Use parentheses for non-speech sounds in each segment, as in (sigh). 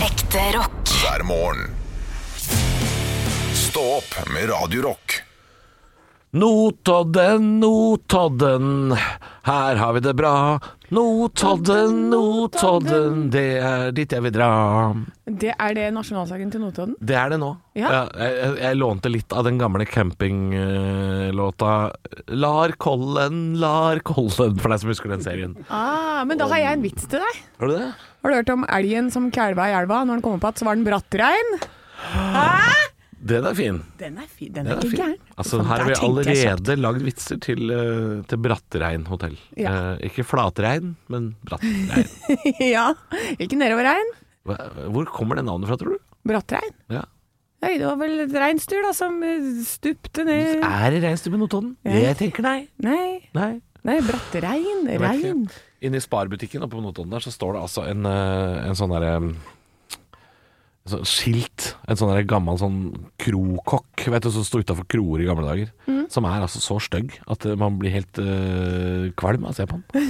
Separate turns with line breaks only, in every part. Ekte rock.
hver morgen. Stå opp med Radio Rock.
Notodden, Notodden, her har vi det bra. Notodden, Notodden, det er dit jeg vil dra.
Det er det nasjonalsangen til Notodden.
Det er det nå.
Ja.
jeg, jeg- jeg lånte litt av den gamle campinglåta Lar Kollen, Lar Kollen, for deg som husker den serien.
Ah, men da har jeg en vits til deg.
Har du det?
Har du hørt om elgen som kælva i elva? Når den kom opp igjen, så var den brattrein. Hæ?
Den er fin.
Den er, fi, den
Den
er
er
ikke
fin.
gæren.
Altså,
Faen,
her har vi
der tenkte jeg
allerede lagd vitser til, eh, til Brattrein hotell.
Ja.
Eh, ikke Flatrein, men Brattrein.
(laughs) kjapt. (laughs) ja. Ikke nedoverrein.
Hva- Hvor kommer det navnet fra, tror du?
Brattrein.
Ja.
Nei, det var vel et reinsdyr da, som eh, stupte ned
Er det reinsdyr på Notodden? Jeg tenker nei.
Nei,
Nei.
nei brattrein.
Jeg vet
Rein.
ikke. Inne i Sparbutikken oppe på Notodden der, så står det altså en, eh, en sånn derre mm, så- Skilt. En sånn der gammel sånn krokokk vet du, som sto utafor kroer i gamle dager.
Mm.
Som er altså så stygg at eh, man blir helt eh, kvalm av å se på den.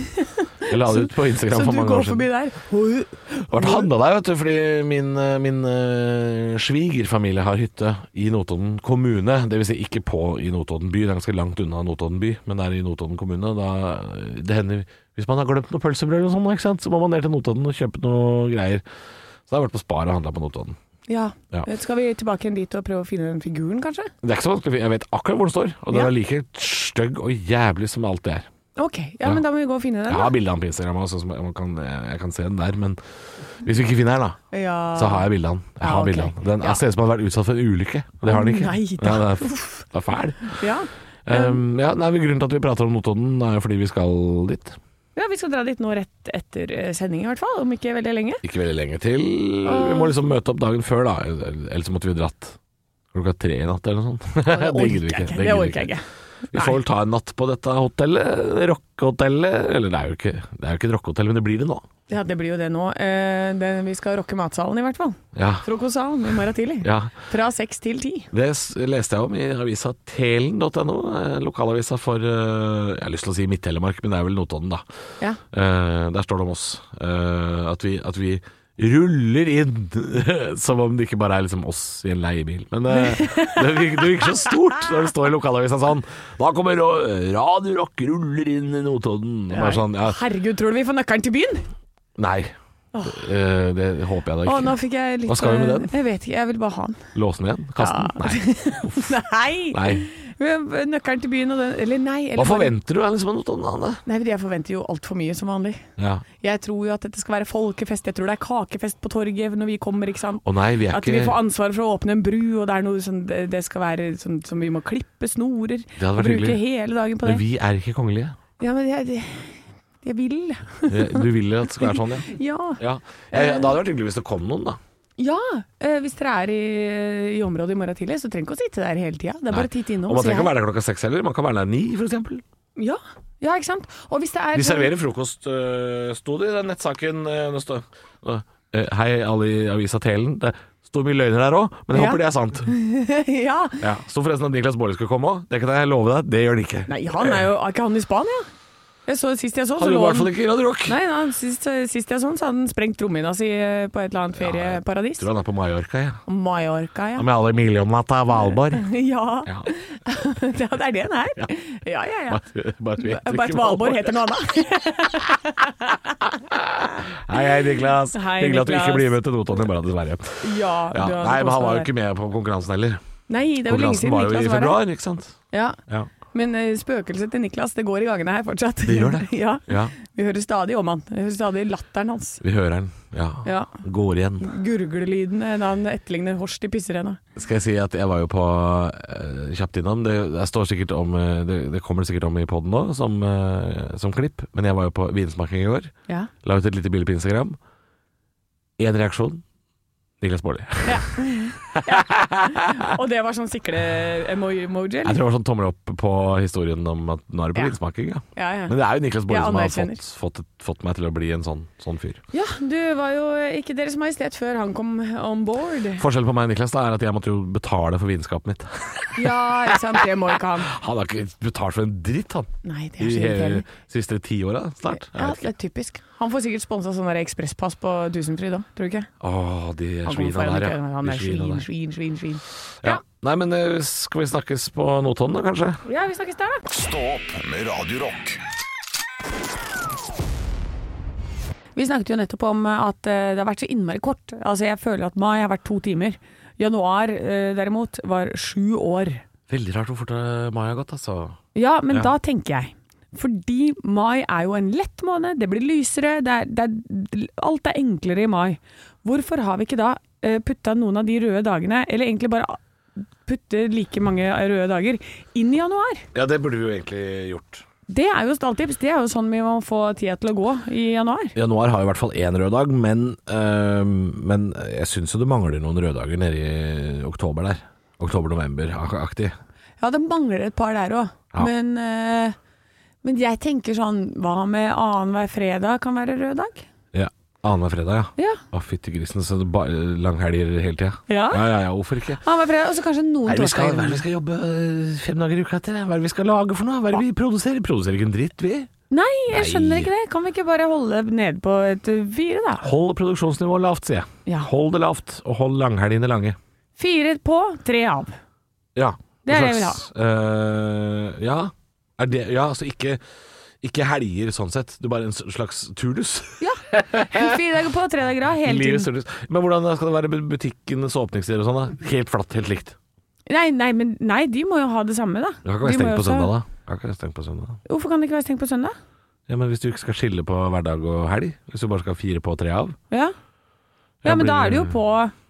Jeg la det ut på Instagram
(laughs) Så
for
du
mange år
går
siden.
forbi der. Hoi.
Det var handla der, vet du, fordi min, eh, min eh, svigerfamilie har hytte i Notodden kommune. Dvs. Si ikke på i Notodden by, det er ganske langt unna Notodden by, men det er i Notodden kommune. Da, eh, det hender Hvis man har glemt noe pølsebrød eller sånn, ikke sant, så må man ned til Notodden og kjøpe noe greier. Så da har jeg vært på Spar og handla på Notodden.
Ja. Eh,
Ja.
Skal vi tilbake igjen dit og prøve å finne den figuren, kanskje?
Det er ikke så vanskelig, jeg vet akkurat hvor den står, og den
Ja.
er like stygg og jævlig som alt det er.
Ok, ja,
Ja.
men da må vi gå og finne den.
Jeg har
da.
bilde av den på Instagram, også, så man kan, jeg kan se den der, men hvis vi ikke finner den, da
Ja.
Så har jeg bildet av den. Jeg
Ja,
har
ok.
bildet av den. Den
Ja.
jeg ser ut som han har vært utsatt for en ulykke. og Det har den ikke.
Nei da.
Ja, det, er, det er fæl.
Ja.
Um, ja, nei, men grunnen til at vi prater om Notodden, er jo fordi vi skal dit.
Ja, vi skal dra dit nå rett etter eh, sending i hvert fall, om ikke veldig lenge.
Ikke veldig lenge til. Vi må liksom møte opp dagen før, da. Ellers måtte vi dratt klokka tre i natt eller noe sånt.
Det
gidder vi ikke. (laughs) (laughs) Det
orker jeg ikke. Det
gidder vi
orker jeg ikke.
Vi får vel ta en natt på dette hotellet. Rockehotellet. Eller det er jo ikke, det er jo ikke et rockehotell, men det blir det nå.
Ja, det blir jo det nå. Eh, det, vi skal rocke matsalen i hvert fall.
Ja.
Frokostsalen i morgen tidlig.
ja.
Fra seks til ti.
Det s- leste jeg om i avisa telen.no, eh, lokalavisa for eh, Jeg har lyst til å si Midt-Telemark, men det er vel Notodden, da.
Ja.
Eh, der står det om oss. Eh, at, vi, at vi ruller inn (laughs) som om det ikke bare er liksom oss i en leiebil. Men eh, det, virker, det virker så stort når det står i lokalavisa sånn Da kommer Ro- Radio Rock ruller inn i Notodden. Og bare sånn, ja,
Herregud, tror du vi får nøkkelen til byen?
nei. Eh, det håper jeg da
Å,
ikke.
nå fikk jeg litt
Hva skal vi med
eh,
den?
Jeg vet ikke, jeg vil bare ha den.
Låse den igjen? Kaste den? Nei.
(laughs) Nei!
nei.
Nøkkelen til byen og den Eller nei. Eller
Hva forventer du liksom, av Notodden? Anne?
Nei, men Jeg forventer jo altfor mye, som vanlig.
Ja.
Jeg tror jo at dette skal være folkefest. Jeg tror det er kakefest på torget når vi kommer, ikke sant.
Å nei, vi er
At
ikke
vi får ansvar for å åpne en bru, og det er noe sånn, det det skal være sånn som vi må klippe snorer.
hadde vært
og bruke
hyggelig.
hele dagen på det.
Men vi er ikke kongelige.
Ja, men jeg, jeg, jeg vil.
Eh, Du vil at det skal være sånn, ja.
Ja.
ja. Eh, Det hadde vært hyggelig hvis det kom noen, da.
ja. eh, Hvis dere er i, i området i morgen tidlig, så trenger dere ikke å sitte der hele tida. Det er bare å titte innom.
Og man
og si
trenger ikke
hei.
være der klokka seks heller, man kan være der ni f.eks.
Ja. ja, ikke sant. Og hvis det er sånn-
De serverer frokost, øh, sto det i den nettsaken øh, nå står- nå, øh, Hei, alle i avisa Telen. Det sto mye løgner der òg, men jeg
Ja.
håper det er sant.
(laughs) Ja.
Ja. Sto forresten at Niklas Baarli skulle komme òg, det kan jeg love deg, det gjør han ikke. Eh,
Nei, han er jo Er ikke han i Spania? Jeg så Sist jeg så, så
Han gjorde i
lå
hvert fall
han
ikke Radio Rock.
Nei, nei, sist, sist jeg så han, så hadde han sprengt romhinna si eh, på et eller annet ferieparadis.
Tror han er på Mallorca, jeg.
Mallorca,
Ja.
ja.
Med alle millionene av Valborg.
(laughs) Ja,
Ja.
(laughs) det er det den er. Ja, ja, ja.
Bare, bare at vi heter
Bert
ikke
Valborg heter noe annet.
Hei, hei, Niklas.
Hei,
Hyggelig at du ikke
Niklas.
blir med til Notodden i morgen, dessverre.
Ja,
(laughs) Ja.
du hadde
Nei, men han
koset
var jo
deg.
ikke med på konkurransen heller.
Nei, det er jo lenge
Konkurransen
siden
var jo i
Niklas var her.
februar, ikke sant.
Ja.
Ja.
Men eh, spøkelset til Niklas, det går i gangene her fortsatt.
Det gjør det.
(laughs) ja.
ja.
Vi hører stadig om han. Vi hører stadig latteren hans.
Vi hører den. Ja.
Ja.
Går igjen.
Gurglelydene da han etterligner Horst i pisserenna.
Skal jeg si at jeg var jo på eh, kjapt innom. Det, det står sikkert om eh, det, det kommer sikkert om i poden nå, som, eh, som klipp. Men jeg var jo på vinsmaking i går.
Ja.
La (laughs) ut et lite bilde på Instagram. Én reaksjon. Niklas Baarli.
Og det var sånn sikle-emoji?
Jeg tror det var sånn tommel opp på historien om at nå er det
Ja.
politismaking, ja.
Ja, ja.
Men det er jo Niklas Baarli
Jeg
som har
anerkjenner.
fått, fått, fått meg til å bli en sånn, sånn fyr.
ja, du var jo ikke Deres Majestet før han kom on board.
(laughs) Forskjellen på meg og Niklas da er at jeg måtte jo betale for vinskapet mitt.
Ja, ikke sant. Det må ikke han.
Han har ikke betalt for en dritt, han.
Nei, det
I
er så
hele
irriterende.
siste tiåra snart. Jeg
Ja,
vet ikke.
det er typisk. Han får sikkert sponsa sånn der ekspresspass på Tusenfryd òg, tror du ikke?
Åh, de
Han kommer
svina
foran
der,
køen,
ja.
Han
De
er
svina
svin,
der.
svin, svin, svin.
Ja. Nei, men eh, skal vi snakkes på Notodden da, kanskje?
Ja, vi snakkes der, da.
Stå opp med Radio Rock.
Vi snakket jo nettopp om at eh, det har vært så innmari kort. Altså, jeg føler at mai har vært to timer. Januar eh, derimot var sju år.
Veldig rart hvor fort eh, mai har gått, altså.
Ja, men
Ja.
da tenker jeg. Fordi mai er jo en lett måned, det blir lysere, det er, det er, alt er enklere i mai. Hvorfor har vi ikke da eh, putta noen av de røde dagene, eller egentlig bare putte like mange røde dager, inn i januar?
Ja, det burde vi jo egentlig gjort.
Det er jo stalltips, det er jo sånn vi må få tida til å gå i januar.
Januar har i hvert fall én rød dag, men, eh, men jeg syns jo det mangler noen røde dager nede i oktober der. Oktober-november-aktig.
Ja, det mangler et par der òg,
Ja.
men, eh, men jeg tenker sånn, hva med annenhver fredag kan være rød dag?
Ja. Annenhver fredag, ja.
Ja.
Å, fytti grisen, så det ba- langhelger hele tida.
Ja.
ja, ja, ja, hvorfor ikke?
Annenhver fredag, og så kanskje noen
Hva er det vi skal, hva er
torsdager.
det vi skal jobbe øh, fem dager i uka etter? Hva er det vi skal lage for noe? Hva er det vi produserer? Produserer ikke en dritt, vi.
Nei, jeg skjønner
Nei.
ikke det. Kan vi ikke bare holde nede på et uh, fire, da?
Hold produksjonsnivået lavt, sier jeg.
Ja.
Hold det lavt, og hold langhelgene lange.
Fire på, tre
(laughs)
av.
Ja.
Det er det jeg
øh, ja. Er det, ja, altså ikke, ikke helger sånn sett. Det er bare en s- slags turnus.
Fire dager på, tre dager av,
(laughs)
hele
Livets
tiden.
turnus. Men hvordan skal det være bu- butikkenes åpningstider og sånn? da? Helt flatt, helt likt.
Nei, nei, men nei, de må jo ha det samme, da.
Du kan ikke være
De må
stengt
jo
på
også-
søndag, da. Du kan ikke være stengt på søndag da.
Hvorfor kan det ikke være stengt på søndag?
Ja, men Hvis du ikke skal skille på hverdag og helg, hvis du bare skal ha fire på og tre av
Ja.
Ja,
ja, men da
blir-
er det jo på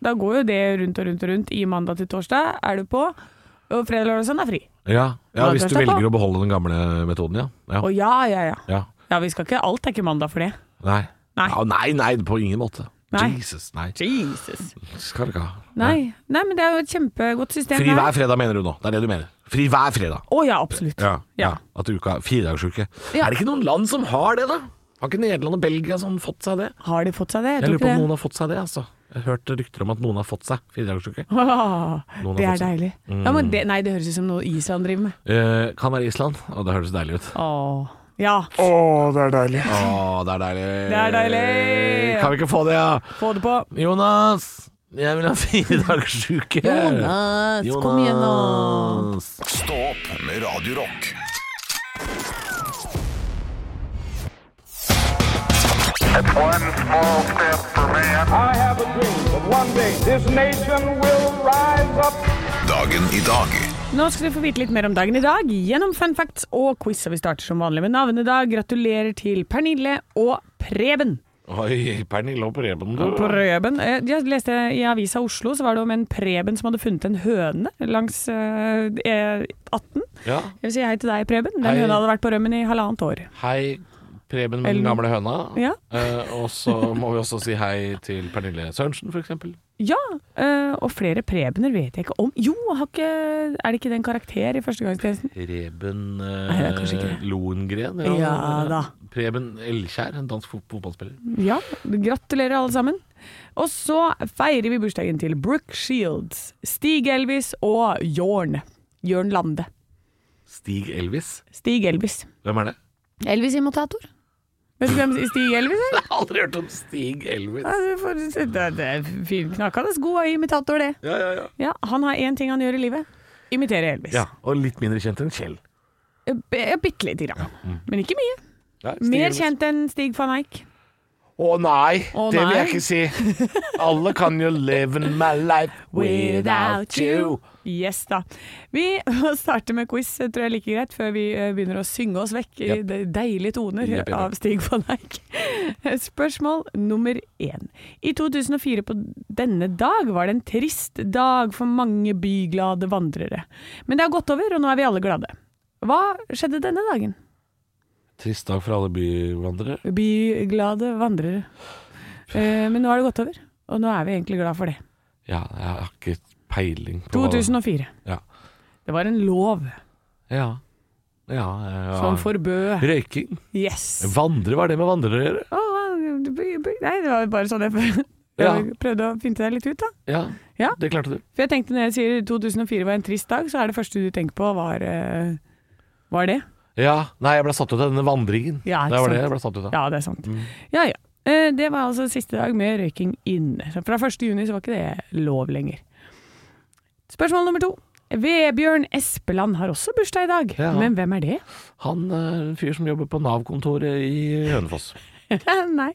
Da går jo det rundt og rundt og rundt. I mandag til torsdag er du på, og fredag, lørdag og søndag er fri.
Ja, ja
Man
hvis
kan
du
slappe
velger
av.
å beholde den gamle metoden, ja. Ja,
Å ja, ja, ja.
ja.
Ja, vi skal ikke Alt er ikke mandag for det.
Nei.
Nei.
Ja, nei, nei, på ingen måte.
Nei.
Jesus, nei.
Jesus.
Skal vi ikke ha.
Nei, nei men det er jo et kjempegodt system.
Fri
her.
hver fredag, mener du nå. Det er det du mener. Fri hver fredag.
Å ja, absolutt.
Ja. ja.
Ja.
At uka Firedagersuke.
Ja.
Er det ikke noen land som har det, da? Har ikke Nederland og Belgia som fått seg det?
Har de fått seg det? Jeg,
Jeg
tror
lurer på
ikke
om
det.
noen har fått seg det, altså. Jeg har hørt rykter om at noen har fått seg firedagersuke.
Åh,
Noen har fått
det er
seg.
deilig. Ja, men det, nei, det høres ut som noe Island driver med.
Eh, kan være Island, og det høres deilig ut.
(laughs) Åh, ja.
Å, det er deilig.
Det er deilig.
Kan vi ikke få det, ja?
Få det på.
Jonas, jeg vil ha firedagersuke.
Stå opp med Radio Rock.
One small step for man.
I have a dream that one day this nation will rise up.
Dagen i dag.
Nå skal du få vite litt mer om dagen i dag gjennom fun facts og quiz. Og vi starter som vanlig med navnedag. Gratulerer til Pernille og Preben.
Oi, Pernille og Preben. du.
Preben. Eh, Jeg leste i Avisa Oslo så var det om en Preben som hadde funnet en høne langs eh, E18.
Ja.
Jeg vil si hei til deg, Preben. Den
Hei.
høna hadde vært på rømmen i halvannet år.
Hei, Preben med den
Ellen.
gamle høna.
Ja.
Eh, og så må vi også si hei til Pernille Sørensen, f.eks.
Ja, eh, og flere Prebener vet jeg ikke om. Jo, har ikke, er det ikke den karakter i førstegangstjenesten?
Preben
Nei, det er kanskje ikke
eh,
det.
Lohengren.
Ja da.
Preben Elkjær, en dansk fot- fotballspiller.
Ja, gratulerer alle sammen. Og så feirer vi bursdagen til Brooke Shields, Stig Elvis og Jorn. Jørn Lande.
Stig Elvis.
Stig Elvis.
Hvem er det? (laughs)
Elvis-imitator. Vet du hvem Stig Elvis
(laughs)
er?
Jeg har aldri hørt om Stig Elvis.
Ja, du får- Det det er fin- knakende god imitator, det.
Ja, ja, ja.
Ja, Han har én ting han gjør i livet. Imitere Elvis. Eh,
ja Og litt mindre kjent enn Kjell.
Bitte lite grann. Men ikke mye.
Ja, mm. Stig
Mer
Elvis.
kjent enn Stig van Eijk.
Å nei,
Å,
det vil jeg
nei.
ikke si. Alle kan jo live my life without you.
Yes da. Vi starter med quiz, tror jeg er like greit, før vi eh, begynner å synge oss vekk i
Jepp.
de- deilige toner
Jepp, jepp, jepp.
av Stig van Eijk. Spørsmål nummer én. I 2004 på denne dag var det en trist dag for mange byglade vandrere. Men det har gått over, og nå er vi alle glade. Hva skjedde denne dagen?
Trist dag for alle byvandrere.
Byglade vandrere. Eh, Men nå har det gått over, og nå er vi egentlig glad for det.
Ja, jeg har ikke peiling på
2004.
Ja.
Det var en lov
Ja. ja, ja.
som forbød
Røyking.
Yes!
Vandre, hva er det med vandrere å gjøre?
Å, b- b- Nei, det var bare sånn jeg prøvde,
Ja.
prøvde å finte deg litt ut, da.
Ja,
Ja.
det klarte du.
For jeg tenkte når jeg sier 2004 var en trist dag, så er det første du tenker på, var, eh, var det.
Ja, Nei, jeg ble satt ut av denne vandringen.
Ja, ikke
det var det
sant.
jeg ble satt ut av.
Ja, det er sant.
Mm.
Ja, ja. Eh, Det var altså siste dag med røyking inne. Så Fra 1. juni så var ikke det lov lenger. Spørsmål nummer to. Vebjørn Espeland har også bursdag i dag,
Ja.
men hvem er det? (laughs)
Han er en fyr som jobber på Nav-kontoret i Hønefoss.
Nei.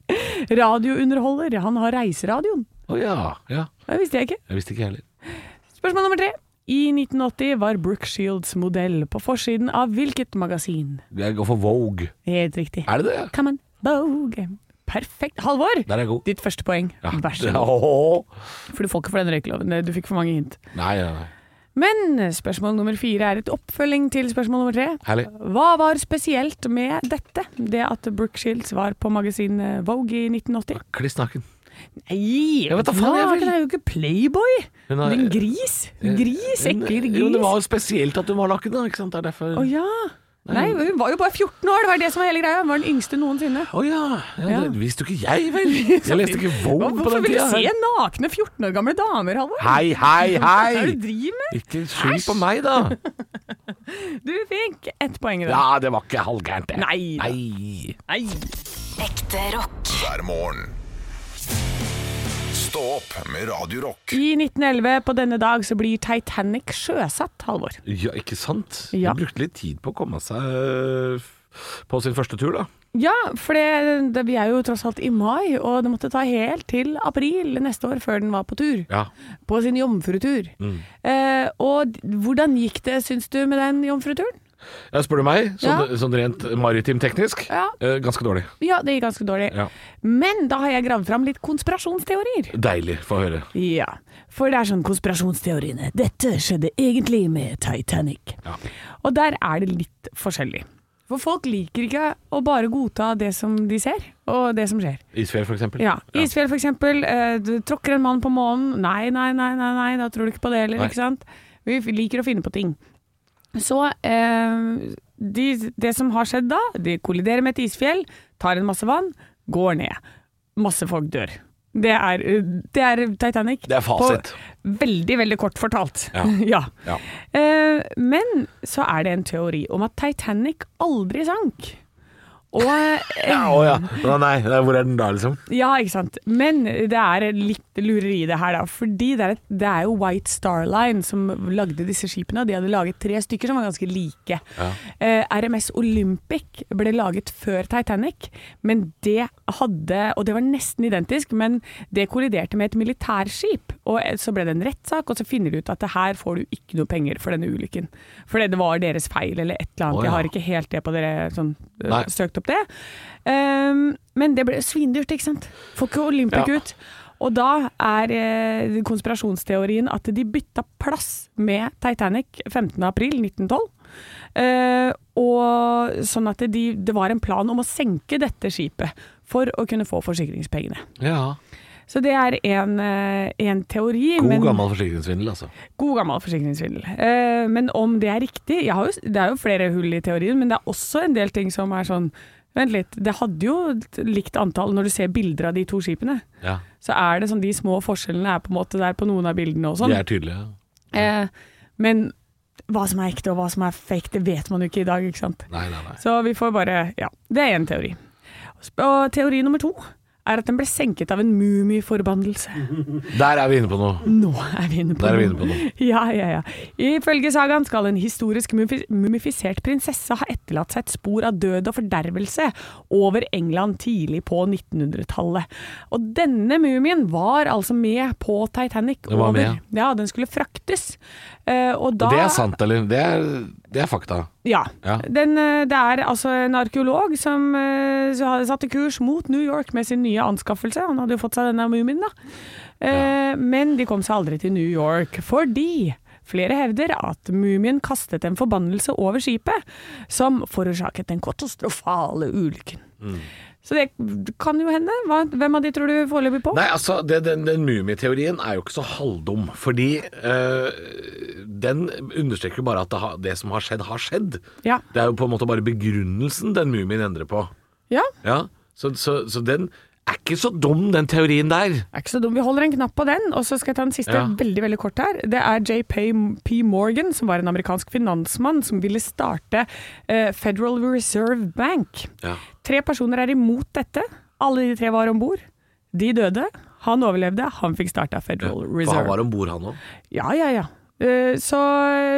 Radiounderholder. Han har reiseradioen.
Å ja. ja.
Det visste jeg ikke.
Jeg visste ikke heller.
Spørsmål nummer tre. I 1980 var Brooke Shields modell på forsiden av hvilket magasin?
Jeg går for Vogue.
Helt riktig.
Er det det?
Come on, Vogue. Perfekt. Halvor,
Der er jeg god.
ditt første poeng. Vær så
(laughs)
god.
god.
For du får ikke for den røykeloven. Du fikk for mange hint.
Nei, nei, nei.
Men spørsmål nummer fire er et oppfølging til spørsmål nummer tre.
Herlig.
Hva var spesielt med dette? Det at Brooke Shields var på magasin Vogue i 1980?
Kliss naken.
Nei,
Jeg vet da faen, jeg
var
vil-
ikke- det er jo ikke Playboy!
Hun har- Eh,
Din gris! Gris, ekkel gris.
Jo, det var jo spesielt at hun var naken, da. Ikke sant? Det er derfor
Å ja. Nei, hun var jo bare 14 år, det var det som var hele greia. Hun var den yngste noensinne.
Å ja. ja,
Ja.
Det visste jo ikke jeg, vel. Jeg leste
(laughs)
ikke Vogue på
Hvorfor
den
vil du
tida.
se nakne 14 år gamle damer, Halvor?
Hei, hei,
Hva er det
hei!
du driver med?
Ikke skyld på meg,
(laughs)
da.
Du fikk ett poeng i dag.
Ja, det var ikke halvgærent, det.
Nei da.
Nei.
Nei.
Ekte rock.
hver morgen. Stå opp med Radio Rock.
I 1911 på denne dag så blir Titanic sjøsatt, Halvor.
Ja, ikke sant?
Ja.
Hun brukte litt tid på å komme seg øh, på sin første tur, da.
Ja, for det, det, vi er jo tross alt i mai, og det måtte ta helt til april neste år før den var på tur.
Ja. Mm.
På sin jomfrutur. Eh, og d- hvordan gikk det, syns du, med den jomfruturen?
Jeg spør du meg, sånn,
Ja.
sånn rent maritim teknisk,
Ja.
øh, ganske dårlig.
Ja, det gikk ganske dårlig.
Ja.
Men da har jeg gravd fram litt konspirasjonsteorier.
Deilig, få høre.
Ja, for det er sånn konspirasjonsteoriene. Dette skjedde egentlig med Titanic.
Ja.
Og der er det litt forskjellig. For folk liker ikke å bare godta det som de ser, og det som skjer.
Isfjell, for eksempel.
Ja, Isfjell for eksempel, eh, du tråkker en mann på månen. Nei, nei, nei, nei, nei, da tror du ikke på det heller,
Nei.
ikke sant? Vi f- liker å finne på ting. Så eh, de, det som har skjedd da, de kolliderer med et isfjell, tar en masse vann, går ned. Masse folk dør. Det er, eh, det er Titanic.
Det er fasit.
På veldig, veldig kort fortalt.
Ja.
(laughs)
Ja.
Eh, men så er det en teori om at Titanic aldri sank. Og
(laughs) Ja, å ja. Å, Nei, nei, hvor er den da, liksom?
Ja, ikke sant. Men det er litt lureri i det her, da. Fordi det er, et, det er jo White Star Line som lagde disse skipene, og de hadde laget tre stykker som var ganske like. Eh, RMS Olympic ble laget før Titanic, men det hadde Og det var nesten identisk, men det kolliderte med et militærskip. Og eh, så ble det en rettssak, og så finner de ut at det her får du ikke noe penger for denne ulykken. Fordi det var deres feil, eller et eller annet.
Å, ja.
Jeg har ikke helt det på dere sånn, eh,
Nei.
søkt opp det. Ehm, men det ble svindyrt, ikke sant? Får ikke Olympic
Ja.
ut. Og da er eh, konspirasjonsteorien at de bytta plass med Titanic 15.4.1912. Eh, og sånn at de, det var en plan om å senke dette skipet for å kunne få forsikringspengene.
Ja.
Så det er en, eh, en teori.
God
men-
gammel forsikringssvindel, altså.
God gammel forsikringssvindel. Eh, men om det er riktig jeg har jo, Det er jo flere hull i teorien, men det er også en del ting som er sånn Vent litt, det hadde jo et likt antall når du ser bilder av de to skipene.
Ja.
Så er det sånn de små forskjellene er på en måte der på noen av bildene og
De
sånn.
er tydelige.
Eh, men hva som er ekte og hva som er fake, det vet man jo ikke i dag, ikke sant.
Nei, nei, nei.
Så vi får bare Ja, det er én teori. Sp- Og teori nummer to er at den ble senket av en mumieforbannelse.
Der er vi inne på noe.
Nå er vi inne på
Der er vi
noe.
inne på noe.
Ja, ja, ja. Ifølge sagaen skal en historisk mufi- mumifisert prinsesse ha etterlatt seg et spor av død og fordervelse over England tidlig på 1900-tallet. Og denne mumien var altså med på Titanic.
Den var
over-
med,
Ja, den skulle fraktes. Eh, og da
Det er sant, eller? Det er, det er fakta.
ja.
Ja.
Den, eh, det er altså en arkeolog som eh, så hadde satte kurs mot New York med sin nye anskaffelse. Han hadde jo fått seg denne mumien, da. Eh, Men de kom seg aldri til New York fordi flere hevder at mumien kastet en
Mm.
forbannelse over skipet som forårsaket den katastrofale ulykken. Så det kan jo hende. Hva, hvem av de tror du foreløpig på?
Nei, altså, det, den, den mumieteorien er jo ikke så halvdum. Fordi eh, den understreker jo bare at det, har- det som har skjedd, har skjedd.
Ja.
Det er jo på en måte bare begrunnelsen den mumien endrer på.
Ja,
Ja, Så, så, så den er ikke så dum, den teorien der.
er ikke så dum. Vi holder en knapp på den, og så skal jeg ta den siste
Ja.
veldig veldig kort her. Det er J.P. P. Morgan, som var en amerikansk finansmann som ville starte eh, Federal Reserve Bank.
Ja.
Tre personer er imot dette. Alle de tre var om bord. De døde. Han overlevde. Han fikk starta Federal
For han
Reserve.
var om bord, han òg.
Ja, ja, ja. Eh, så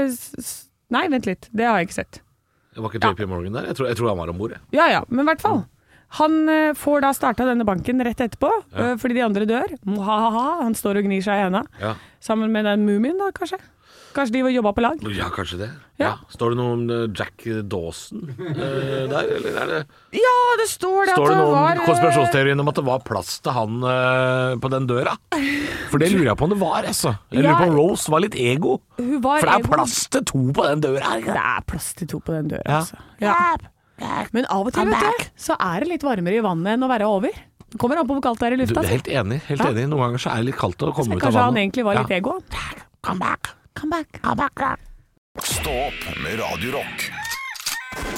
s- s- Nei, vent litt. Det har jeg ikke sett.
Var ikke JP Morgan der? Jeg tror, jeg tror han var om bord, jeg.
Ja ja, men i hvert fall. Han eh, får da starta denne banken rett etterpå, eh, fordi de andre dør. Mwahaha, han står og gnir seg i henda.
Ja.
Sammen med den mumien, da, kanskje. Kanskje de var jobba på lag.
ja, kanskje det.
Ja.
Står det noe om eh, Jack Dawson eh, der, eller er det
Ja, det står det
Står det
at det
noe
var
om
eh,
konspirasjonsteorien om at det var plass til han eh, på den døra? For det lurer jeg på om det var, altså. Jeg lurer
Ja.
på om Rose var litt ego.
Hun var
For det er
ego.
plass til to på den døra her.
Det er plass til to på den døra,
Ja.
altså. Ja. Men av og til, vet du, så er det litt varmere i vannet enn å være over. Det kommer an på hvor kaldt det er i
Du,
lufta.
jeg er helt enig. helt
Ja.
enig Noen ganger så er det litt kaldt å komme ut av
Kanskje han
vannet.
egentlig var litt ego.
Come back.
Stå opp med Radio Rock.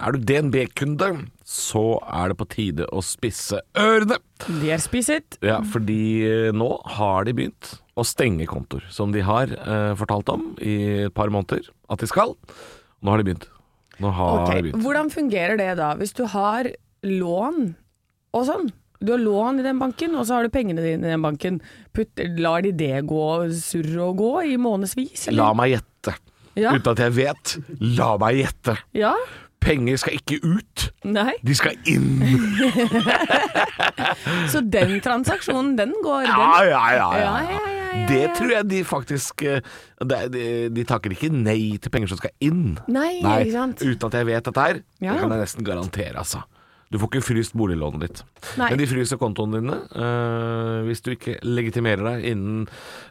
Er du DNB-kunde, så er det på tide å spisse ørene.
De er spisset.
Ja, fordi eh, nå har de begynt å stenge kontoer, som de har eh, fortalt om i et par måneder at de skal. Nå har de begynt. Nå har
Ok,
de begynt.
Hvordan fungerer det da, hvis du har lån og sånn? Du har lån i den banken, og så har du pengene dine i den banken. Putt, lar de det gå surre og gå i månedsvis? eller?
La meg gjette.
Ja.
Uten at jeg vet. La meg gjette.
Ja?
Penger skal ikke ut,
Nei?
de skal
(laughs)
inn.
Så den transaksjonen, den går
Ja, ja, ja. ja,
Ja, ja, ja, ja, ja.
Det tror jeg de faktisk eh, De, de, de takker ikke nei til penger som skal inn.
Nei, ikke sant?
Uten at jeg vet dette her.
Ja.
Det kan jeg nesten garantere, altså. Du får ikke fryst boliglånet ditt.
Nei.
Men de fryser kontoene dine eh, hvis du ikke legitimerer deg innen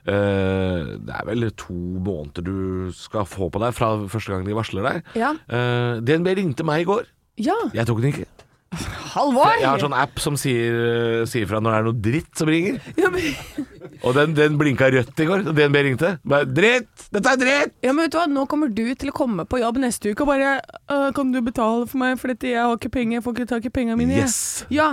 eh, Det er vel to måneder du skal få på deg fra første gang de varsler deg.
Ja.
Eh, DNB ringte meg i går.
Ja,
Jeg tok den ikke.
Halvor!
Jeg har sånn app som sier, eh, sier fra når det er noe dritt som ringer.
Ja, men,
Og den, den blinka rødt i går, og DNB ringte. Bare, dritt! Dette er dritt!
ja, men vet du hva, nå kommer du til å komme på jobb neste uke og bare «Øh, Kan du betale for meg, for dette, jeg har ikke penger, jeg får ikke tak i pengene mine. jeg».
Yes.
Ja,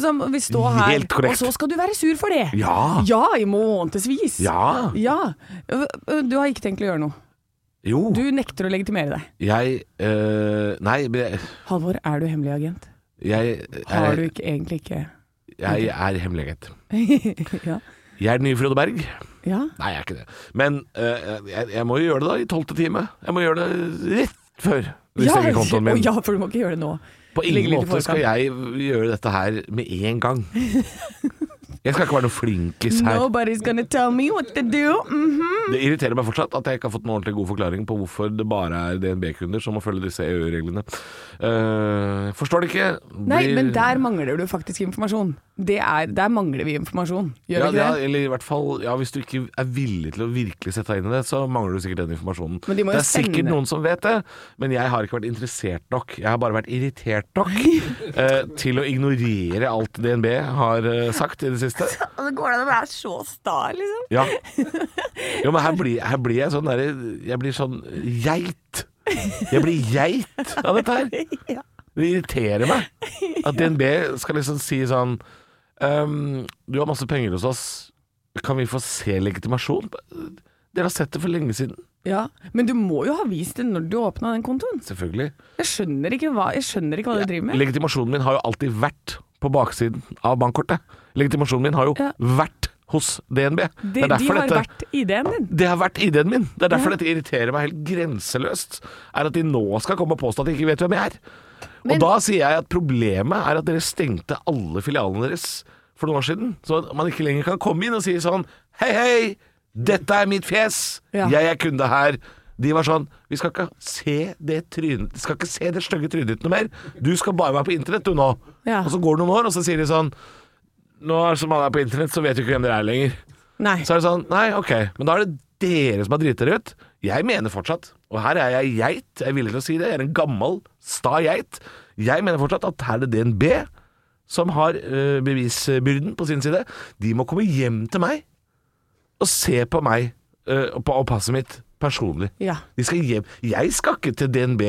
så vi står her,
Helt korrekt.
og så skal du være sur for det.
Ja.
Ja, i månedsvis.
Ah. Ja.
Ja. Ø, ø, Du har ikke tenkt å gjøre noe.
Jo.
Du nekter å legitimere deg.
Jeg eh, Nei, men jeg,
Halvor, er du hemmelig agent?
jeg,
Har du
jeg,
ikke egentlig ikke (laughs)
jeg er hemmelig agent.
Ja.
Jeg er den nye Frode Berg.
ja.
Nei, jeg er ikke det. Men eh, jeg, jeg må jo gjøre det da i tolvte time. Jeg må gjøre det rett før de
ja.
stenger kontoen
Å
min.
ja, for du må ikke gjøre det nå.
På ingen
Ligger litt i
måte skal
forkant.
jeg gjøre dette her med en
(laughs)
gang. Jeg skal ikke være noe flinkis her.
Nobody's gonna tell me what to do. Mhm.
Det irriterer meg fortsatt at jeg ikke har fått noen ordentlig god forklaring på hvorfor det bare er DNB-kunder som må følge disse EU-reglene. Eh, forstår det ikke.
Nei,
Blir-
men der mangler du faktisk informasjon. Det er, der mangler vi informasjon, gjør
ja,
vi ikke
ja,
det?
eller i hvert fall, ja, Hvis du ikke er villig til å virkelig sette deg inn i det, så mangler du sikkert den informasjonen.
Men de må
det
jo
er sikkert
sende-
noen som vet det, men jeg har ikke vært interessert nok. Jeg har bare vært irritert nok (laughs) eh, til å ignorere alt DNB har eh, sagt i det
(laughs)
siste.
Det går an å være så sta, liksom.
Ja. Jo,
(laughs)
men her blir, her blir jeg sånn derre Jeg blir sånn geit. Jeg blir geit av dette her. Det irriterer meg at DNB skal liksom si sånn ehm, Du har masse penger hos oss. Kan vi få se legitimasjon? Dere har sett det for lenge siden.
Ja, Men du må jo ha vist det når du åpna den kontoen.
Selvfølgelig.
Jeg skjønner ikke hva, jeg skjønner ikke hva du driver med.
Legitimasjonen min har jo alltid vært på baksiden av bankkortet. Legitimasjonen min har jo
Ja.
vært hos DNB.
De, de har vært ID-en din.
Det har vært ID-en min. Det er derfor dette irriterer meg helt grenseløst. Er at de nå skal komme og påstå at de ikke vet hvem jeg er. og da sier jeg at problemet er at dere stengte alle filialene deres for noen år siden. Så at man ikke lenger kan komme inn og si sånn Hei, hei! Dette er mitt fjes!
Ja.
Jeg er kunde her. De var sånn Vi skal ikke se det trynet Vi skal ikke se det stygge trynet ditt noe mer. Du skal bare være på internett, du nå.
Ja.
Og så går det noen år, og så sier de sånn Nå som man er på internett, så vet du ikke hvem dere er lenger.
Nei.
Så er det sånn, nei, ok, men da er det dere som har driti dere ut. Jeg mener fortsatt, og her er jeg geit, jeg er villig til å si det, jeg er en gammel, sta geit. Jeg mener fortsatt at her er det DNB som har eh, bevisbyrden på sin side. De må komme hjem til meg og se på meg eh, og på og passet mitt personlig.
Ja.
De skal hjem. Jeg skal ikke til DNB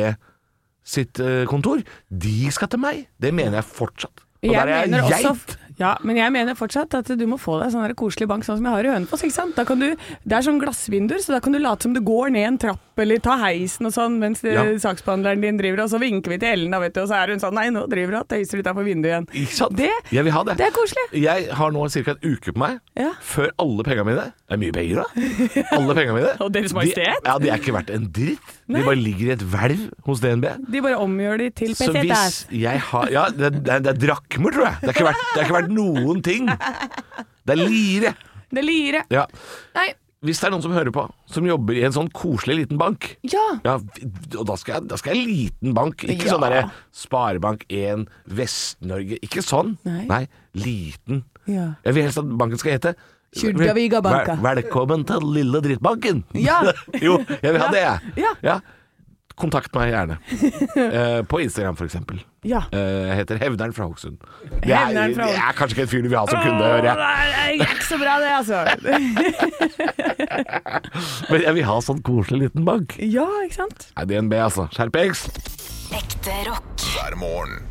sitt eh, kontor. De skal til meg. Det mener jeg fortsatt. Og der er
mener
jeg
også- ja, men jeg mener fortsatt at du må få deg sånn her koselig bank sånn som jeg har i Hønefoss. ikke sant? Da kan du, Det er sånn glassvinduer, så da kan du late som du går ned en trapp eller ta heisen og sånn, mens det-
Ja.
saksbehandleren din driver, og så vinker vi til Ellen, da, vet du, og så er hun sånn Nei, nå driver hun og tøyser utafor vinduet igjen.
Ikke sant?
Det,
jeg vil ha det.
det er koselig.
Jeg har nå ca. en uke på meg
Ja.
før alle pengene mine Det er mye penger, da. Alle pengene mine
(laughs) Og Deres Majestet.
De, ja, de er ikke verdt en dritt.
Nei.
De bare ligger i et hvelv hos DNB.
De bare omgjør de til
Så hvis
pesetas.
jeg har Ja, det, er- det, er- det er drakmer, tror jeg. Det er ikke verdt, det er ikke verdt noen ting. Det er lire.
Det lirer.
Ja.
Nei,
Hvis det er noen som hører på, som jobber i en sånn koselig liten bank
ja.
ja, og da skal, jeg, da skal jeg liten bank, ikke
Ja.
sånn derre Sparebank1 Vest-Norge, ikke sånn.
Nei.
liten.
Ja.
Jeg vil helst at banken skal hete
Kyrdaviga banka.
Vel- Velkommen til lille drittbanken.
Ja.
(laughs) jo, jeg vil ha det, jeg.
Ja.
Kontakt meg gjerne.
(laughs)
Eh, på Instagram, for eksempel.
Ja.
Eh, jeg heter Hevneren fra Hokksund. Det er,
Hevneren fra
det er kanskje ikke en fyr du vil ha som kunde, hører jeg.
Åh, det er ikke så bra det,
(laughs)
altså.
Men jeg vil ha sånn koselig liten bank.
Ja, ikke sant?
Nei, DNB, altså. Skjerpings!
Ekte rock.
hver morgen.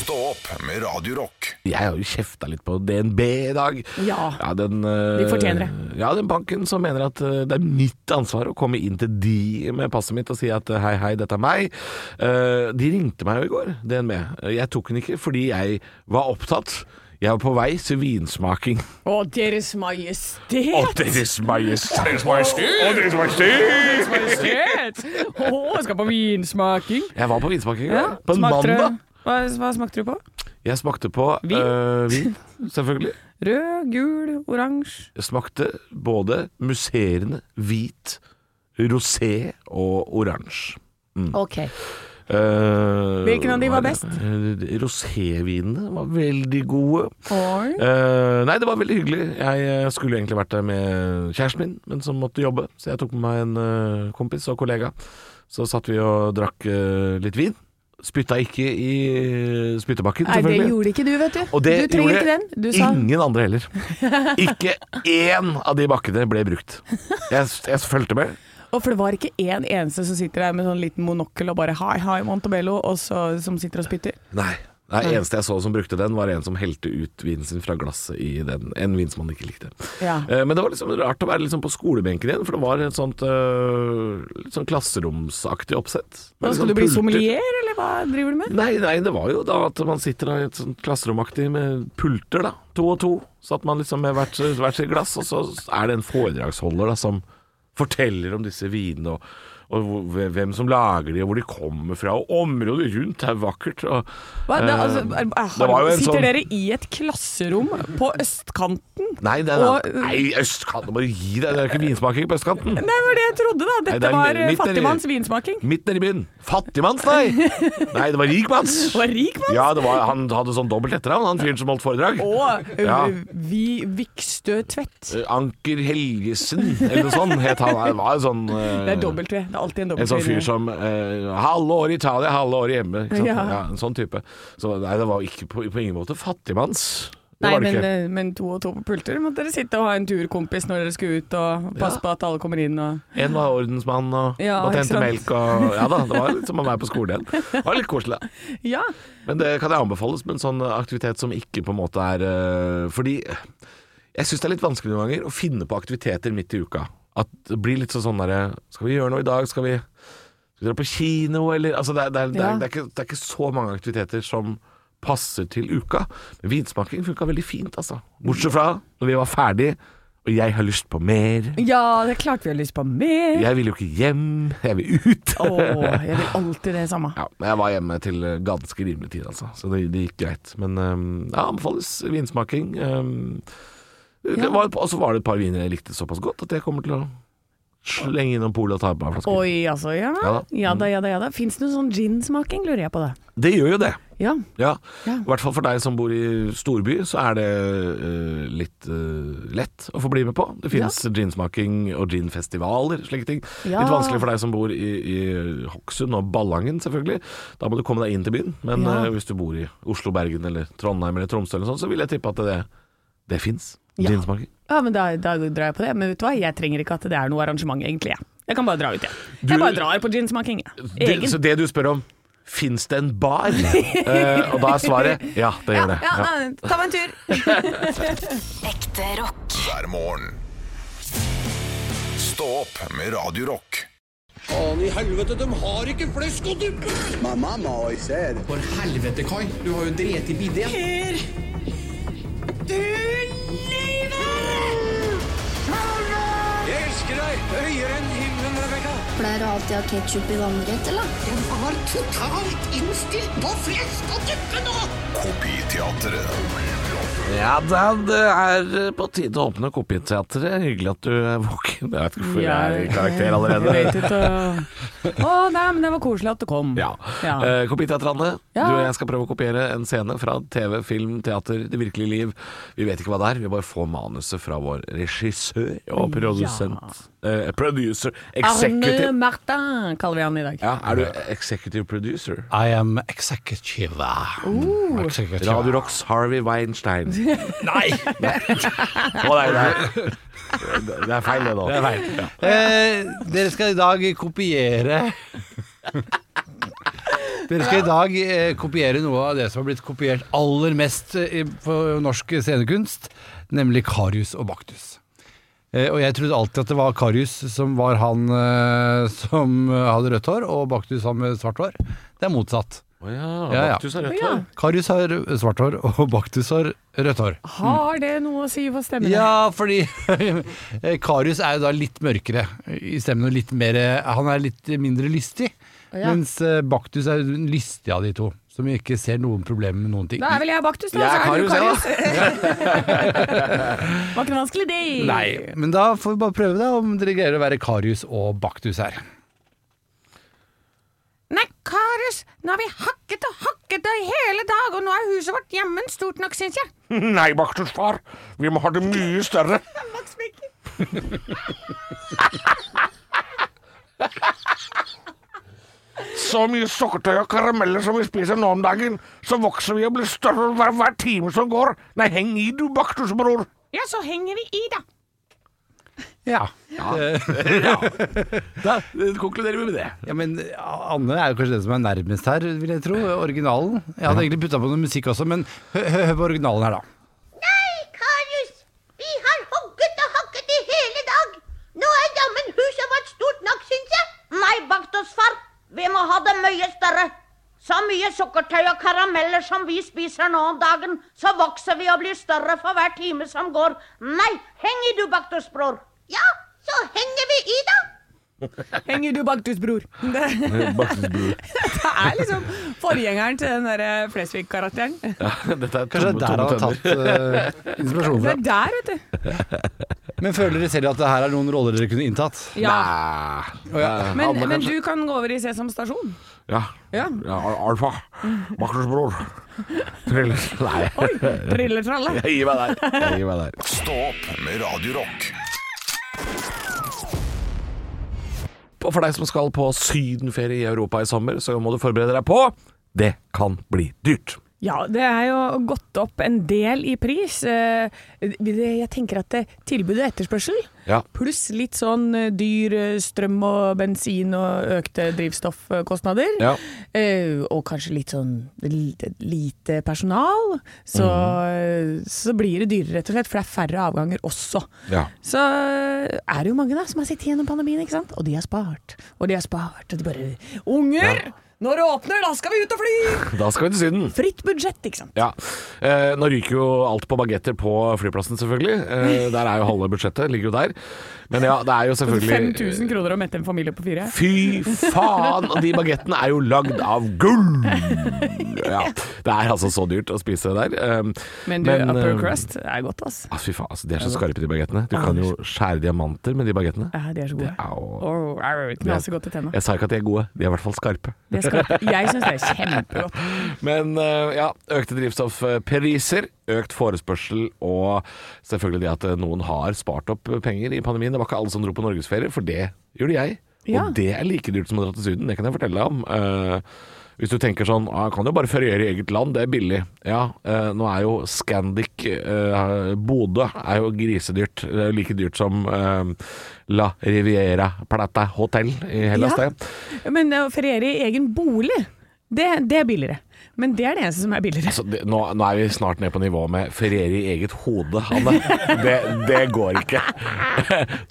Stå opp med Radio Rock.
Jeg har jo kjefta litt på DNB i dag.
Ja.
den, eh,
De fortjener det.
Ja, den banken som mener at eh, det er mitt ansvar å komme inn til de med passet mitt og si at eh, hei, hei, dette er meg. Eh, De ringte meg jo i går, DNB. Eh, Jeg tok den ikke fordi jeg var opptatt. Jeg var på vei til
(laughs)
vinsmaking.
Å, Deres Majestet.
Å, Deres Majestet!
Majestet. Å, skal på vinsmaking.
Jeg var på vinsmaking i går, på en
smakte du-
mandag.
Hva, hva smakte du på?
Jeg smakte på
Vin?
eh, vin
(laughs)
selvfølgelig.
Rød, gul, oransje.
Jeg smakte både musserende hvit, rosé og oransje. Mm.
Ok.
Eh,
Hvilken av de var
hva er
best?
det? Eh, Rosévinene var veldig gode.
Oi.
Eh, nei, det var veldig hyggelig. Jeg eh, skulle egentlig vært der med kjæresten min, men som måtte jobbe. Så jeg tok med meg en eh, kompis og kollega. Så satt vi og drakk eh, litt vin. Spytta ikke i eh, spyttebakken,
Nei, det
selvfølgelig.
gjorde ikke du, vet du.
og det
du trenger
gjorde
ikke den. Du sa
ingen andre
(laughs)
heller. Ikke én av de bakkene ble brukt. Jeg, jeg fulgte med.
Og for det var ikke én eneste som sitter der med sånn liten monokkel og bare hi, hi, Montebello, og så, som sitter og spytter.
Nei. Det eneste jeg så som brukte den, var en som helte ut vinen sin fra glasset i den. En vin som han ikke likte.
Ja.
Eh, Men det var liksom rart å være liksom på skolebenken igjen, for det var et sånt øh, litt sånn klasseromsaktig oppsett.
Hva,
Med liksom
skal du bli
pulter.
sommelier, eller hva driver du med?
Nei, nei, det var jo da at man sitter da i et sånt klasseromaktig med pulter, da. To og to. Satt man liksom med hvert, hvert sitt glass, og så er det en foredragsholder da som forteller om disse vinene, og, og hvor- hvem som lager de, og hvor de kommer fra, og området rundt er vakkert. Og,
Hva, det,
eh,
altså, er, er,
det var jo en
sitter
sånn-
dere i et klasserom på østkanten?
Nei, det er,
Og-
nei østkanten, bare gi deg, det
(laughs)
er ikke vinsmaking på østkanten.
Det var det jeg trodde, da. Dette
Nei, det er
var eh,
midt nedi.
fattigmanns vinsmaking.
Midt nede i byen. Fattigmanns, nei!
(laughs)
Nei, det var rikmanns.
Det var rik mann.
Ja, det var, han hadde sånn dobbelt etternavn, han fyren som holdt foredrag.
Og eh,
Ja.
vi Vikstø Tvedt.
Eh, Anker Helgesen, eller noe sånt, het han. Det var en sånn eh,
Det er dobbelt V. Det er alltid en
En
dobbelt
sånn
V.
fyr som eh, Halve året i Italia, halve året hjemme. Ikke sant?
Ja.
Ja. En sånn type. Så nei, det var ikke på, på ingen måte fattigmanns. Det
Nei,
var det
men,
ikke.
eh, men to og to på pulter måtte dere sitte og ha en turkompis når dere skulle ut, og passe
Ja.
på at alle kommer inn og
En var ordensmann og,
Ja,
og
ikke
tente
sant?
melk og Ja da, det var litt som å være på skolen igjen. Det var litt koselig. da.
Ja.
Men det kan jeg anbefales med en sånn aktivitet som ikke på en måte er øh, Fordi jeg syns det er litt vanskelig noen ganger å finne på aktiviteter midt i uka. At det blir litt sånn sånn derre Skal vi gjøre noe i dag? Skal vi, skal vi dra på kino, eller Altså det er, det, er, det,
Ja.
er, det, er ikke, det er ikke så mange aktiviteter som passer til uka. Men vinsmaking funka veldig fint, altså. Bortsett fra når vi var ferdig, og jeg har lyst på mer.
ja, det er klart vi har lyst på mer.
Jeg vil jo ikke hjem, jeg vil ut.
Å, jeg vil alltid det samme.
Ja, men jeg var hjemme til ganske rimelig tid, altså. Så det, det gikk greit. Men um, ja, anbefales vinsmaking. Um, det
Ja.
var, og så var det et par viner jeg likte såpass godt at jeg kommer til å Slenge innom polet og ta på meg en flaske.
Oi, altså, ja.
Ja da. Mm.
Ja da, ja da. ja da. Fins det noe sånn ginsmaking, lurer jeg på det.
Det gjør jo det.
Ja.
Ja.
Ja.
I hvert fall for deg som bor i storby, så er det eh, litt eh, lett å få bli med på. Det finnes ginsmaking og ginfestivaler, slike ting.
Ja.
Litt vanskelig for deg som bor i, i Hokksund og Ballangen, selvfølgelig. Da må du komme deg inn til byen. Men
Ja.
eh, hvis du bor i Oslo, Bergen eller Trondheim eller Tromsø eller sånn, så vil jeg tippe at det, det fins.
Ja.
Ginsmaking.
Ja, men da, da drar jeg på det. Men vet du hva, jeg trenger ikke at det er noe arrangement, egentlig. Jeg, jeg kan bare dra ut, jeg.
Du-
Jeg bare drar på ginsmaking, jeg.
Det,
Egen.
så det du spør om Fins det en
(laughs)
bar? Eh, og da er svaret ja, det gjør det.
Ja,
Ja.
nei, ta meg en tur.
Ekte rock.
hver morgen. Stå opp med Radio Rock.
Faen i helvete, de har ikke flesk og duppe!
My mama always said,
For helvete, Kai. Du har jo drept i bidé. Jeg elsker deg høyere enn himmelen, Rebekka.
Pleier du alltid å ha ketsjup i vannrett, eller?
Den var totalt innstilt på flesk og duppe nå!
Kopiteatret.
Ja da, det er eh, på tide å åpne Kopiteatret. Hyggelig at du er våken. Jeg vet ikke hvorfor jeg er i karakter
Jeg
allerede.
vet ikke. Å nei, men det var koselig at du kom.
Ja.
Ja.
Eh, Kopiteatret, Anne.
Ja.
Du og jeg skal prøve å kopiere en scene fra TV, film, teater, det virkelige liv. Vi vet ikke hva det er, vi bare får manuset fra vår regissør og produsent. Eh, producer.
Arne
Executive.
Martin kaller vi han i dag.
Ja, er du executive producer?
I am executive.
Oh.
Executive.
Radio Rocks Harvey Weinstein.
Nei!
Å, nei, nei. (laughs) Det det er feil, det nå.
Det er feil. Eh, dere skal i dag kopiere Dere skal i dag eh, kopiere noe av det som har blitt kopiert aller mest eh, i- på norsk scenekunst, nemlig Karius og Baktus. Eh, og jeg trodde alltid at det var Karius som var han eh, som hadde rødt hår, og Baktus han med svart hår. Det er motsatt.
Å ja,
Ja, ja.
Baktus er rødt
Ja.
hår.
Karius har svart hår, og Baktus har rødt hår.
Har det noe å si for stemmen?
Ja, fordi eh, (laughs) Karius er jo da litt mørkere i stemmen og litt mer eh, Han er litt mindre lystig.
Ja.
Mens eh, Baktus er den lystige av de to, som ikke ser noen problemer med noen ting.
Da er vel jeg Baktus, da.
Jeg er
så er du
Karius, (laughs)
Karius. Var ikke noe vanskelig, det.
Nei, men da får vi bare prøve da om dere greier å være Karius og Baktus her.
Nei, Karius, nå har vi hakket og hakket i hele dag, og nå er huset vårt jammen stort nok, syns jeg.
Nei, Baktus far, vi må ha det mye større.
så mye sukkertøy og karameller som vi spiser nå om dagen, så vokser vi og blir større hver, hver time som går. Nei, heng i du, baktusbror.
Ja, så henger vi i, da.
Ja.
(laughs) Da eh, konkluderer vi med det.
ja, men Anne er jo kanskje den som er nærmest her, vil jeg tro. Originalen. Jeg hadde egentlig putta på noe musikk også, men hø- hø- hør på originalen her, da.
Nei, Karius! Vi har hogget og hakket i hele dag! Nå er jammen huset vårt stort nok, syns jeg! Nei, Baktusfar, vi må ha det mye større! Så mye sukkertøy og karameller som vi spiser nå om dagen, så vokser vi og blir større for hver time som går. Nei, heng i du, Baktusbror! Ja, så henger vi i, da!
Henger du Baktus, bror? (laughs) Det,
Eh,
det er liksom forgjengeren til den derre Flesvig-karakteren. Det
(laughs) Dette er
Kanskje
tomme,
det er der
tomme
han har
tønner.
tatt uh, inspirasjon
(laughs)
fra.
er der, vet du.
Men føler dere selv at det her er noen roller dere kunne inntatt?
Ja.
Nei.
Å ja.
Men,
Anne,
men
kanskje?
du kan gå over i Sesam stasjon.
Ja.
Ja.
ja al- alfa.
(laughs)
Baktusbror. Triller. Nei,
Trilletralle.
(laughs) jeg gir meg der. Jeg gir meg der.
Stå opp med Radio Rock.
Og for deg som skal på sydenferie i Europa i sommer, så må du forberede deg på det kan bli dyrt.
Ja, det er jo gått opp en del i pris. Eh, det- Jeg tenker at det, tilbud og etterspørsel,
Ja.
pluss litt sånn eh, dyr eh, strøm og bensin og økte drivstoffkostnader,
Ja.
eh, og kanskje litt sånn lite, lite personal, så, eh, så blir det dyrere rett og slett, for det er færre avganger også.
Mhm. Ja.
Så eh, er det jo mange da som har sittet gjennom pandemien, ikke sant? Og de har spart, og de har spart, og de bare Unger!
Når det åpner, da skal vi ut og fly!
Da skal vi til Syden.
Fritt budsjett, ikke sant.
Ja. Eh, nå ryker jo alt på bagetter på flyplassen, selvfølgelig. Eh, der er jo halve budsjettet, ligger jo der. Men ja, det er jo
(laughs)
selvfølgelig
5000 kroner å mette en familie på fire.
Fy faen! Og de bagettene er jo lagd av gull! Ja, det er altså så dyrt å spise det der. Um,
Men du, upper
um,
crust er godt, ass.
Altså, fy faen, altså, de er så skarpe, de bagettene. Du kan jo skjære diamanter med de bagettene.
Ja, de er så gode.
Au.
Oh, au, Knaser godt i tenna.
Jeg sa ikke at de er gode, de er i hvert fall skarpe.
Det er skarpt. Jeg syns det er kjempegodt.
Men eh, ja, økte drivstoffpriser, økt forespørsel og selvfølgelig det at eh, noen har spart opp penger i pandemien. Det var ikke alle som dro på norgesferie, for det gjorde jeg.
Ja.
Og det er like dyrt som å dra til Syden, det kan jeg fortelle deg om. Eh, hvis du tenker sånn ah, jeg kan jo bare feriere i eget land, det er billig. Ja, eh, nå er jo Scandic eh, Bodø er jo grisedyrt. Det er jo like dyrt som eh, La Riviera Plata Hotel i Hellas,
Ja.
det.
Men å feriere i egen bolig, det, det er billigere. Men det er det eneste som er billigere.
Altså, det, nå, nå er vi snart ned på nivå med feriere i eget hode, Hanne. Det, det går ikke. (laughs)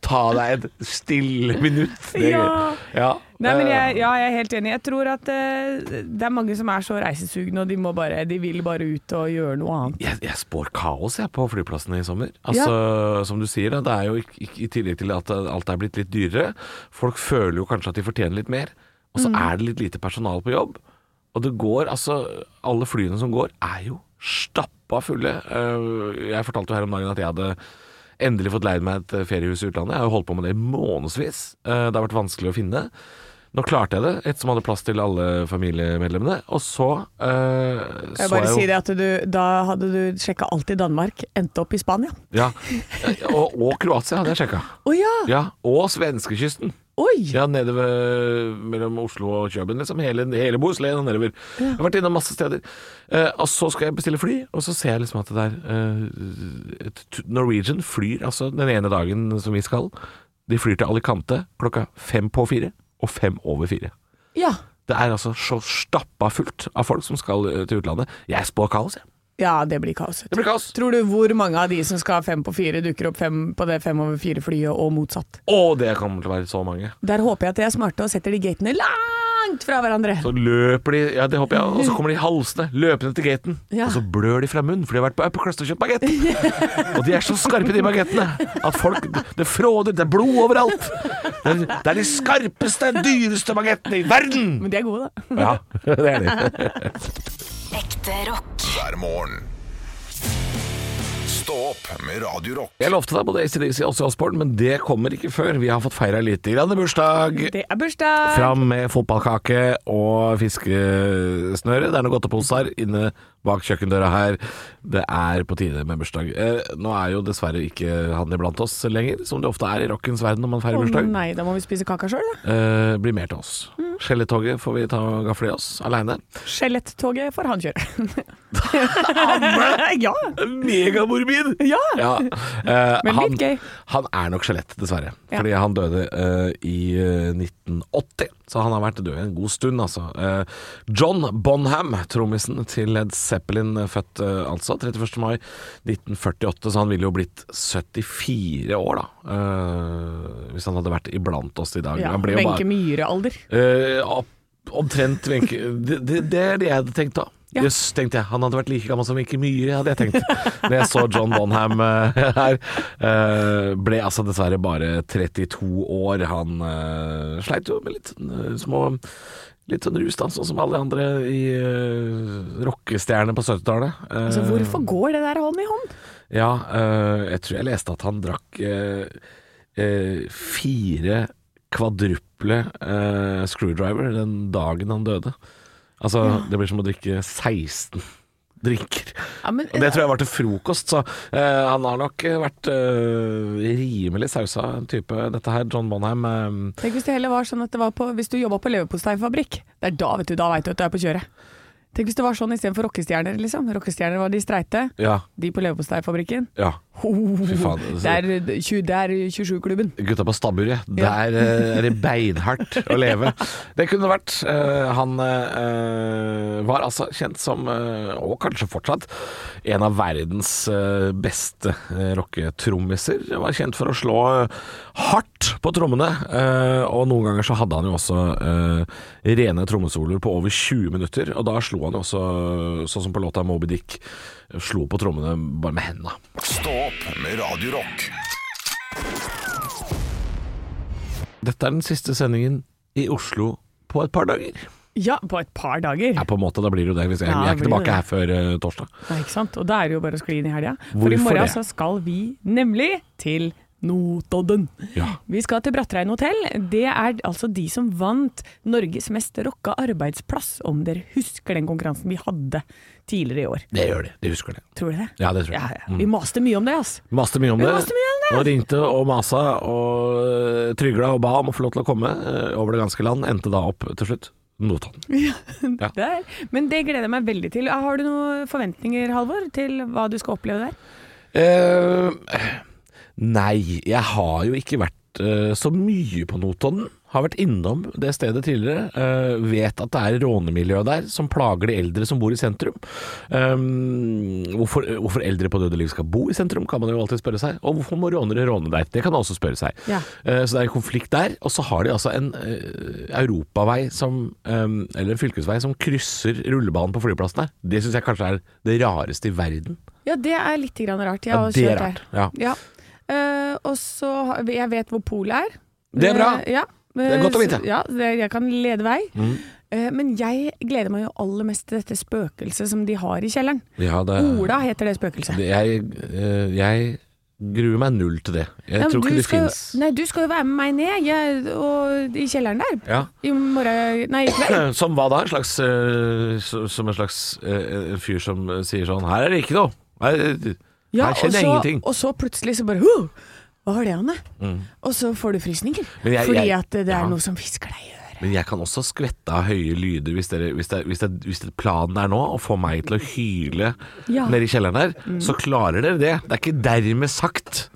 Ta deg et stille minutt. Det,
Ja.
ja.
Nei, men
eh,
jeg, ja, jeg er helt enig. Jeg tror at eh, det er mange som er så reisesugne, og de, må bare, de vil bare ut og gjøre noe annet.
jeg, jeg spår kaos jeg, på flyplassene i sommer. Altså, Som du sier, da, det er jo ikke, ikke, i tillegg til at eh, alt er blitt litt dyrere, folk føler jo kanskje at de fortjener litt mer, og
Mm.
så er det litt lite personal på jobb. Og det går, altså Alle flyene som går, er jo stappa fulle. Eh, Jeg fortalte jo her om dagen at jeg hadde endelig fått leid meg et eh, feriehus i utlandet. Jeg har jo holdt på med det i månedsvis. Eh, Det har vært vanskelig å finne. Nå klarte jeg det, et som hadde plass til alle familiemedlemmene. Og så eh, så
Jeg bare
jo-
si det at du, da hadde du sjekka alt i Danmark, endte opp i Spania.
ja. Og, og Kroatia hadde jeg sjekka.
Å ja!
Ja. Og svenskekysten.
Oi!
Ja, nede ved, mellom Oslo og Køben, liksom. Hele, hele Bohuslän og nedover. Jeg har vært innom masse steder. Eh, og så skal jeg bestille fly, og så ser jeg liksom at det der eh, et t- Norwegian flyr altså den ene dagen som vi skal. De flyr til Alicante klokka fem på fire og fem over fire.
Ja.
Det er altså så stappa fullt av folk som skal eh, til utlandet. Jeg spår kaos, jeg.
ja, det blir kaos. vet du.
Det blir kaos.
Tror du hvor mange av de som skal fem på fire, dukker opp fem på det fem over fire-flyet, og motsatt?
Og det kommer til å være så mange.
Der håper jeg at de er smarte og setter de gatene langt fra hverandre.
Så løper de, ja det håper jeg, og så kommer de halsende, løpende til gaten.
Ja.
Og så blør de fra munnen, for de har vært på Upper Crust og kjøpt bagett. og de er så skarpe, de bagettene, at folk Det fråder, det er blod overalt. Det er, det er de skarpeste, dyreste bagettene i verden!
Men de er gode, da.
Ja, det er de.
Ekte rock.
hver morgen. Stå opp med Radio Rock.
Jeg lovte deg både ACDC og Osborne, men det kommer ikke før vi har fått feira lite grann bursdag.
Det er bursdag!
Fram med fotballkake og fiskesnøre. Det er noen godteposer inne bak kjøkkendøra her. Det er på tide med bursdag. Eh, nå er jo dessverre ikke han iblant oss lenger, som det ofte er i rockens verden når man feirer
Å
bursdag.
nei, Mm. da må vi spise kaka sjøl, da.
Eh, blir mer til oss. Skjelettoget får vi ta gafle i oss aleine.
Skjelettoget får han kjøre. Anne! (laughs) ja.
Megamorbid!
ja.
Ja. Eh,
Men litt
han,
gøy.
han er nok skjelett, dessverre.
Ja.
Fordi han døde eh, i eh, 1980, så han har vært død en god stund, altså. Eh, John Bonham, trommisen til Led Zeppelin, eh, født eh, altså 31. mai 1948, så han ville jo blitt 74 år, da. eh, hvis han hadde vært iblant oss i dag.
ja.
Han ble jo
Wenche
bare
Myhre-alder.
eh, opp- Omtrent Wenche det, det, det er det jeg hadde tenkt da.
Ja.
Jøss, tenkte jeg. Han hadde vært like gammel som Wenche Myhre, hadde jeg tenkt. Når jeg så John Bonham eh, her. eh, ble altså dessverre bare 32 år. Han eh, sleit jo med litt eh, små Litt sånn rus, da, sånn som alle andre i uh, rockestjernene på 70-tallet. Eh,
Så hvorfor går det der hånd i hånd?
ja, øh, jeg tror jeg leste at han drakk øh, øh, fire kvadruple øh, screwdriver den dagen han døde. Altså, det blir som å drikke 16 (laughs) drinker.
Ja, men, eh,
Og det tror jeg var til frokost, så øh, han har nok øh, vært øh, rimelig sausa type, dette her. John Bonham. øh,
Tenk hvis det heller var sånn at det var på Hvis du jobba på leverposteifabrikk, det er da, vet du, da veit du at du er på kjøret. Tenk hvis det var sånn istedenfor rockestjerner, liksom. Rockestjerner var de streite.
Ja.
De på leverposteifabrikken. (laughs)
Ja. Fy faen.
Det er, eh, tju- det er 27-klubben.
Gutta på stabburet.
Ja.
Der eh, er det beinhardt å leve. Det kunne vært. eh, han eh, var altså kjent som, eh, og kanskje fortsatt, en av verdens eh, beste eh, rocketrommiser. Han Var kjent for å slå eh, hardt på trommene, eh, og noen ganger så hadde han jo også eh, rene trommesoloer på over 20 minutter. Og da slo han jo også, sånn som på låta Moby Dick, slo på trommene bare med hendene.
Stå opp med Radio Rock.
Dette er den siste sendingen i Oslo på et par dager.
Ja, på et par dager.
Ja, på en måte, da blir det jo det. Hvis jeg,
Ja,
jeg er ikke
blir det
tilbake
det.
her før eh, torsdag.
Nei, ikke sant? Og da er det jo bare å skli inn i helga. For i
Hvorfor
morgen
det?
så skal vi nemlig til Notodden.
Ja.
Vi skal til Brattrein hotell. Det er altså de som vant Norges mest rocka arbeidsplass, om dere husker den konkurransen vi hadde tidligere i år.
Det gjør de. De husker det.
Tror dere det?
Ja, Mm. det tror jeg.
Ja, ja. Vi maste mye om det, altså.
Maste mye om
Vi
det.
maste mye om det.
Og ringte og masa og eh, trygla og ba om å få lov til å komme eh, over det ganske land. Endte da opp til slutt Notodden. Ja.
Der. Men det gleder jeg meg veldig til. Har du noen forventninger, Halvor, til hva du skal oppleve der?
Eh, nei, jeg har jo ikke vært eh, så mye på Notodden. Har vært innom det stedet tidligere. eh, vet at det er rånemiljø der som plager de eldre som bor i sentrum. Um, hvorfor, hvorfor eldre på døde liv skal bo i sentrum, kan man jo alltid spørre seg. Og hvorfor må rånere råne der? Det kan man også spørre seg.
Ja.
Eh, Så det er en konflikt der. Og så har de altså en eh, europavei som eh, Eller en fylkesvei som krysser rullebanen på flyplassen der. Det syns jeg kanskje er det rareste i verden.
Ja, det er litt grann rart. Jeg
Ja,
har også
det er
kjørt
rart.
der.
Ja.
Ja. Eh, og så har- Jeg vet hvor polet er.
Det er bra.
Eh, ja.
er godt å
Eh,
vite. Mm.
så- Ja, det, jeg kan lede vei. Eh, men jeg gleder meg jo aller mest til dette spøkelset som de har i kjelleren.
Ja, det,
Ola heter det spøkelset.
det, jeg, eh, jeg gruer meg null til det. Jeg
Ja, men
tror
du
ikke det
skal jo-
fins.
Nei, du skal jo være med meg ned jeg, og, i kjelleren der.
Ja. (clears throat)
I morgen Nei, i kveld.
Som hva da? En slags, eh, så- som en slags eh, en fyr som eh, sier sånn Her er det ikke noe! eh, Her,
Ja,
her skjer det
og så,
ingenting. Mm.
Og så plutselig så bare «Huh, Hva var det, Anne? Og så får du frysninger.
Men jeg-
fordi
jeg-
at det, det er
ja.
noe som hvisker deg i øret.
Men jeg kan også skvette av høye lyder hvis, dere, hvis, det, hvis, det, hvis det planen er nå å få meg til å hyle
Ja. Mm.
nede i kjelleren der, så klarer dere det. Det er ikke dermed sagt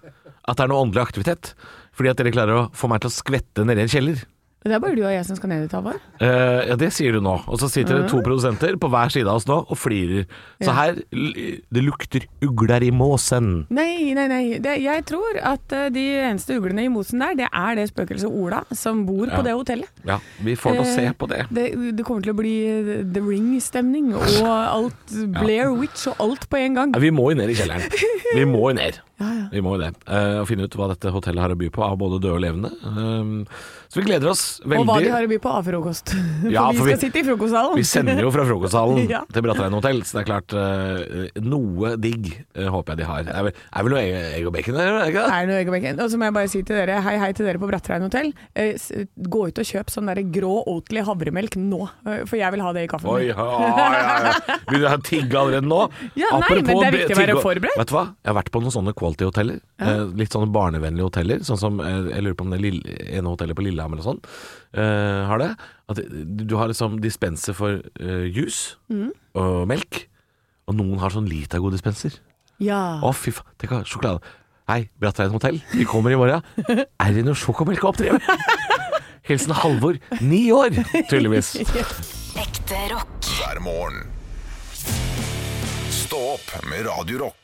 at det er noe åndelig aktivitet. Fordi at dere klarer å få meg til å skvette nede i en kjeller.
Det er bare du og jeg som skal ned dit, Halvor.
Eh, ja, det sier du nå. Og så sitter det to produsenter på hver side av oss nå og flirer. Så her l- Det lukter ugler i måsen.
Nei, nei, nei. Det, jeg tror at eh, de eneste uglene i mosen der, det er det spøkelset Ola som bor på det hotellet.
Ja, vi får nå
Eh,
se på det.
Det, det kommer til å bli eh, The Ring-stemning
(laughs)
og alt Blair Witch og alt på en gang.
Ja, Vi må jo ned i kjelleren. Vi må jo ned.
(laughs) Ja, ja.
Vi må jo det. Eh, og finne ut hva dette hotellet har å by på av både døde og levende. Um, så vi gleder oss veldig.
Og hva de har å by på av frokost. (laughs) For
Ja,
vi
for
skal
vi-
sitte i frokostsalen.
Vi sender jo fra frokostsalen
(laughs) Ja.
til Brattrein hotell, så det er klart eh, Noe digg eh, håper jeg de har. Det er vel, er vel noe egg- egg og bacon der, er det ikke det?
Er det noe egg og bacon? Og så må jeg bare si til dere, hei hei til dere på Brattrein hotell. Eh, s- gå ut og kjøp sånn der grå Oatly havremelk nå, eh, for jeg vil ha det i kaffen.
Oi,
min.
ja, ja, ja. Vil du ha tigge allerede nå?
(laughs) Ja, nei, men det er viktig å
be- tigge-
være forberedt.
Vet du hva? Jeg har vært på noen sånne quality-hoteller. eh, Litt sånne barnevennlige hoteller. Sånn som eh, Jeg lurer på om det lille, ene hotellet på Lillehammer eller sånn eh, har det. At det- du har liksom dispenser for eh, juice
Mm.
og melk. Og noen har sånn Litago-dispenser.
Ja.
Å, fy faen. Tenk å ha sjokolade. Hei, Brattrein hotell. Vi kommer i
(laughs)
morgen. Er det noe sjokomelk å oppdrive? Hilsen Halvor, ni år, tydeligvis.
Ekte rock.
Hver morgen. Stå opp med Radio Rock.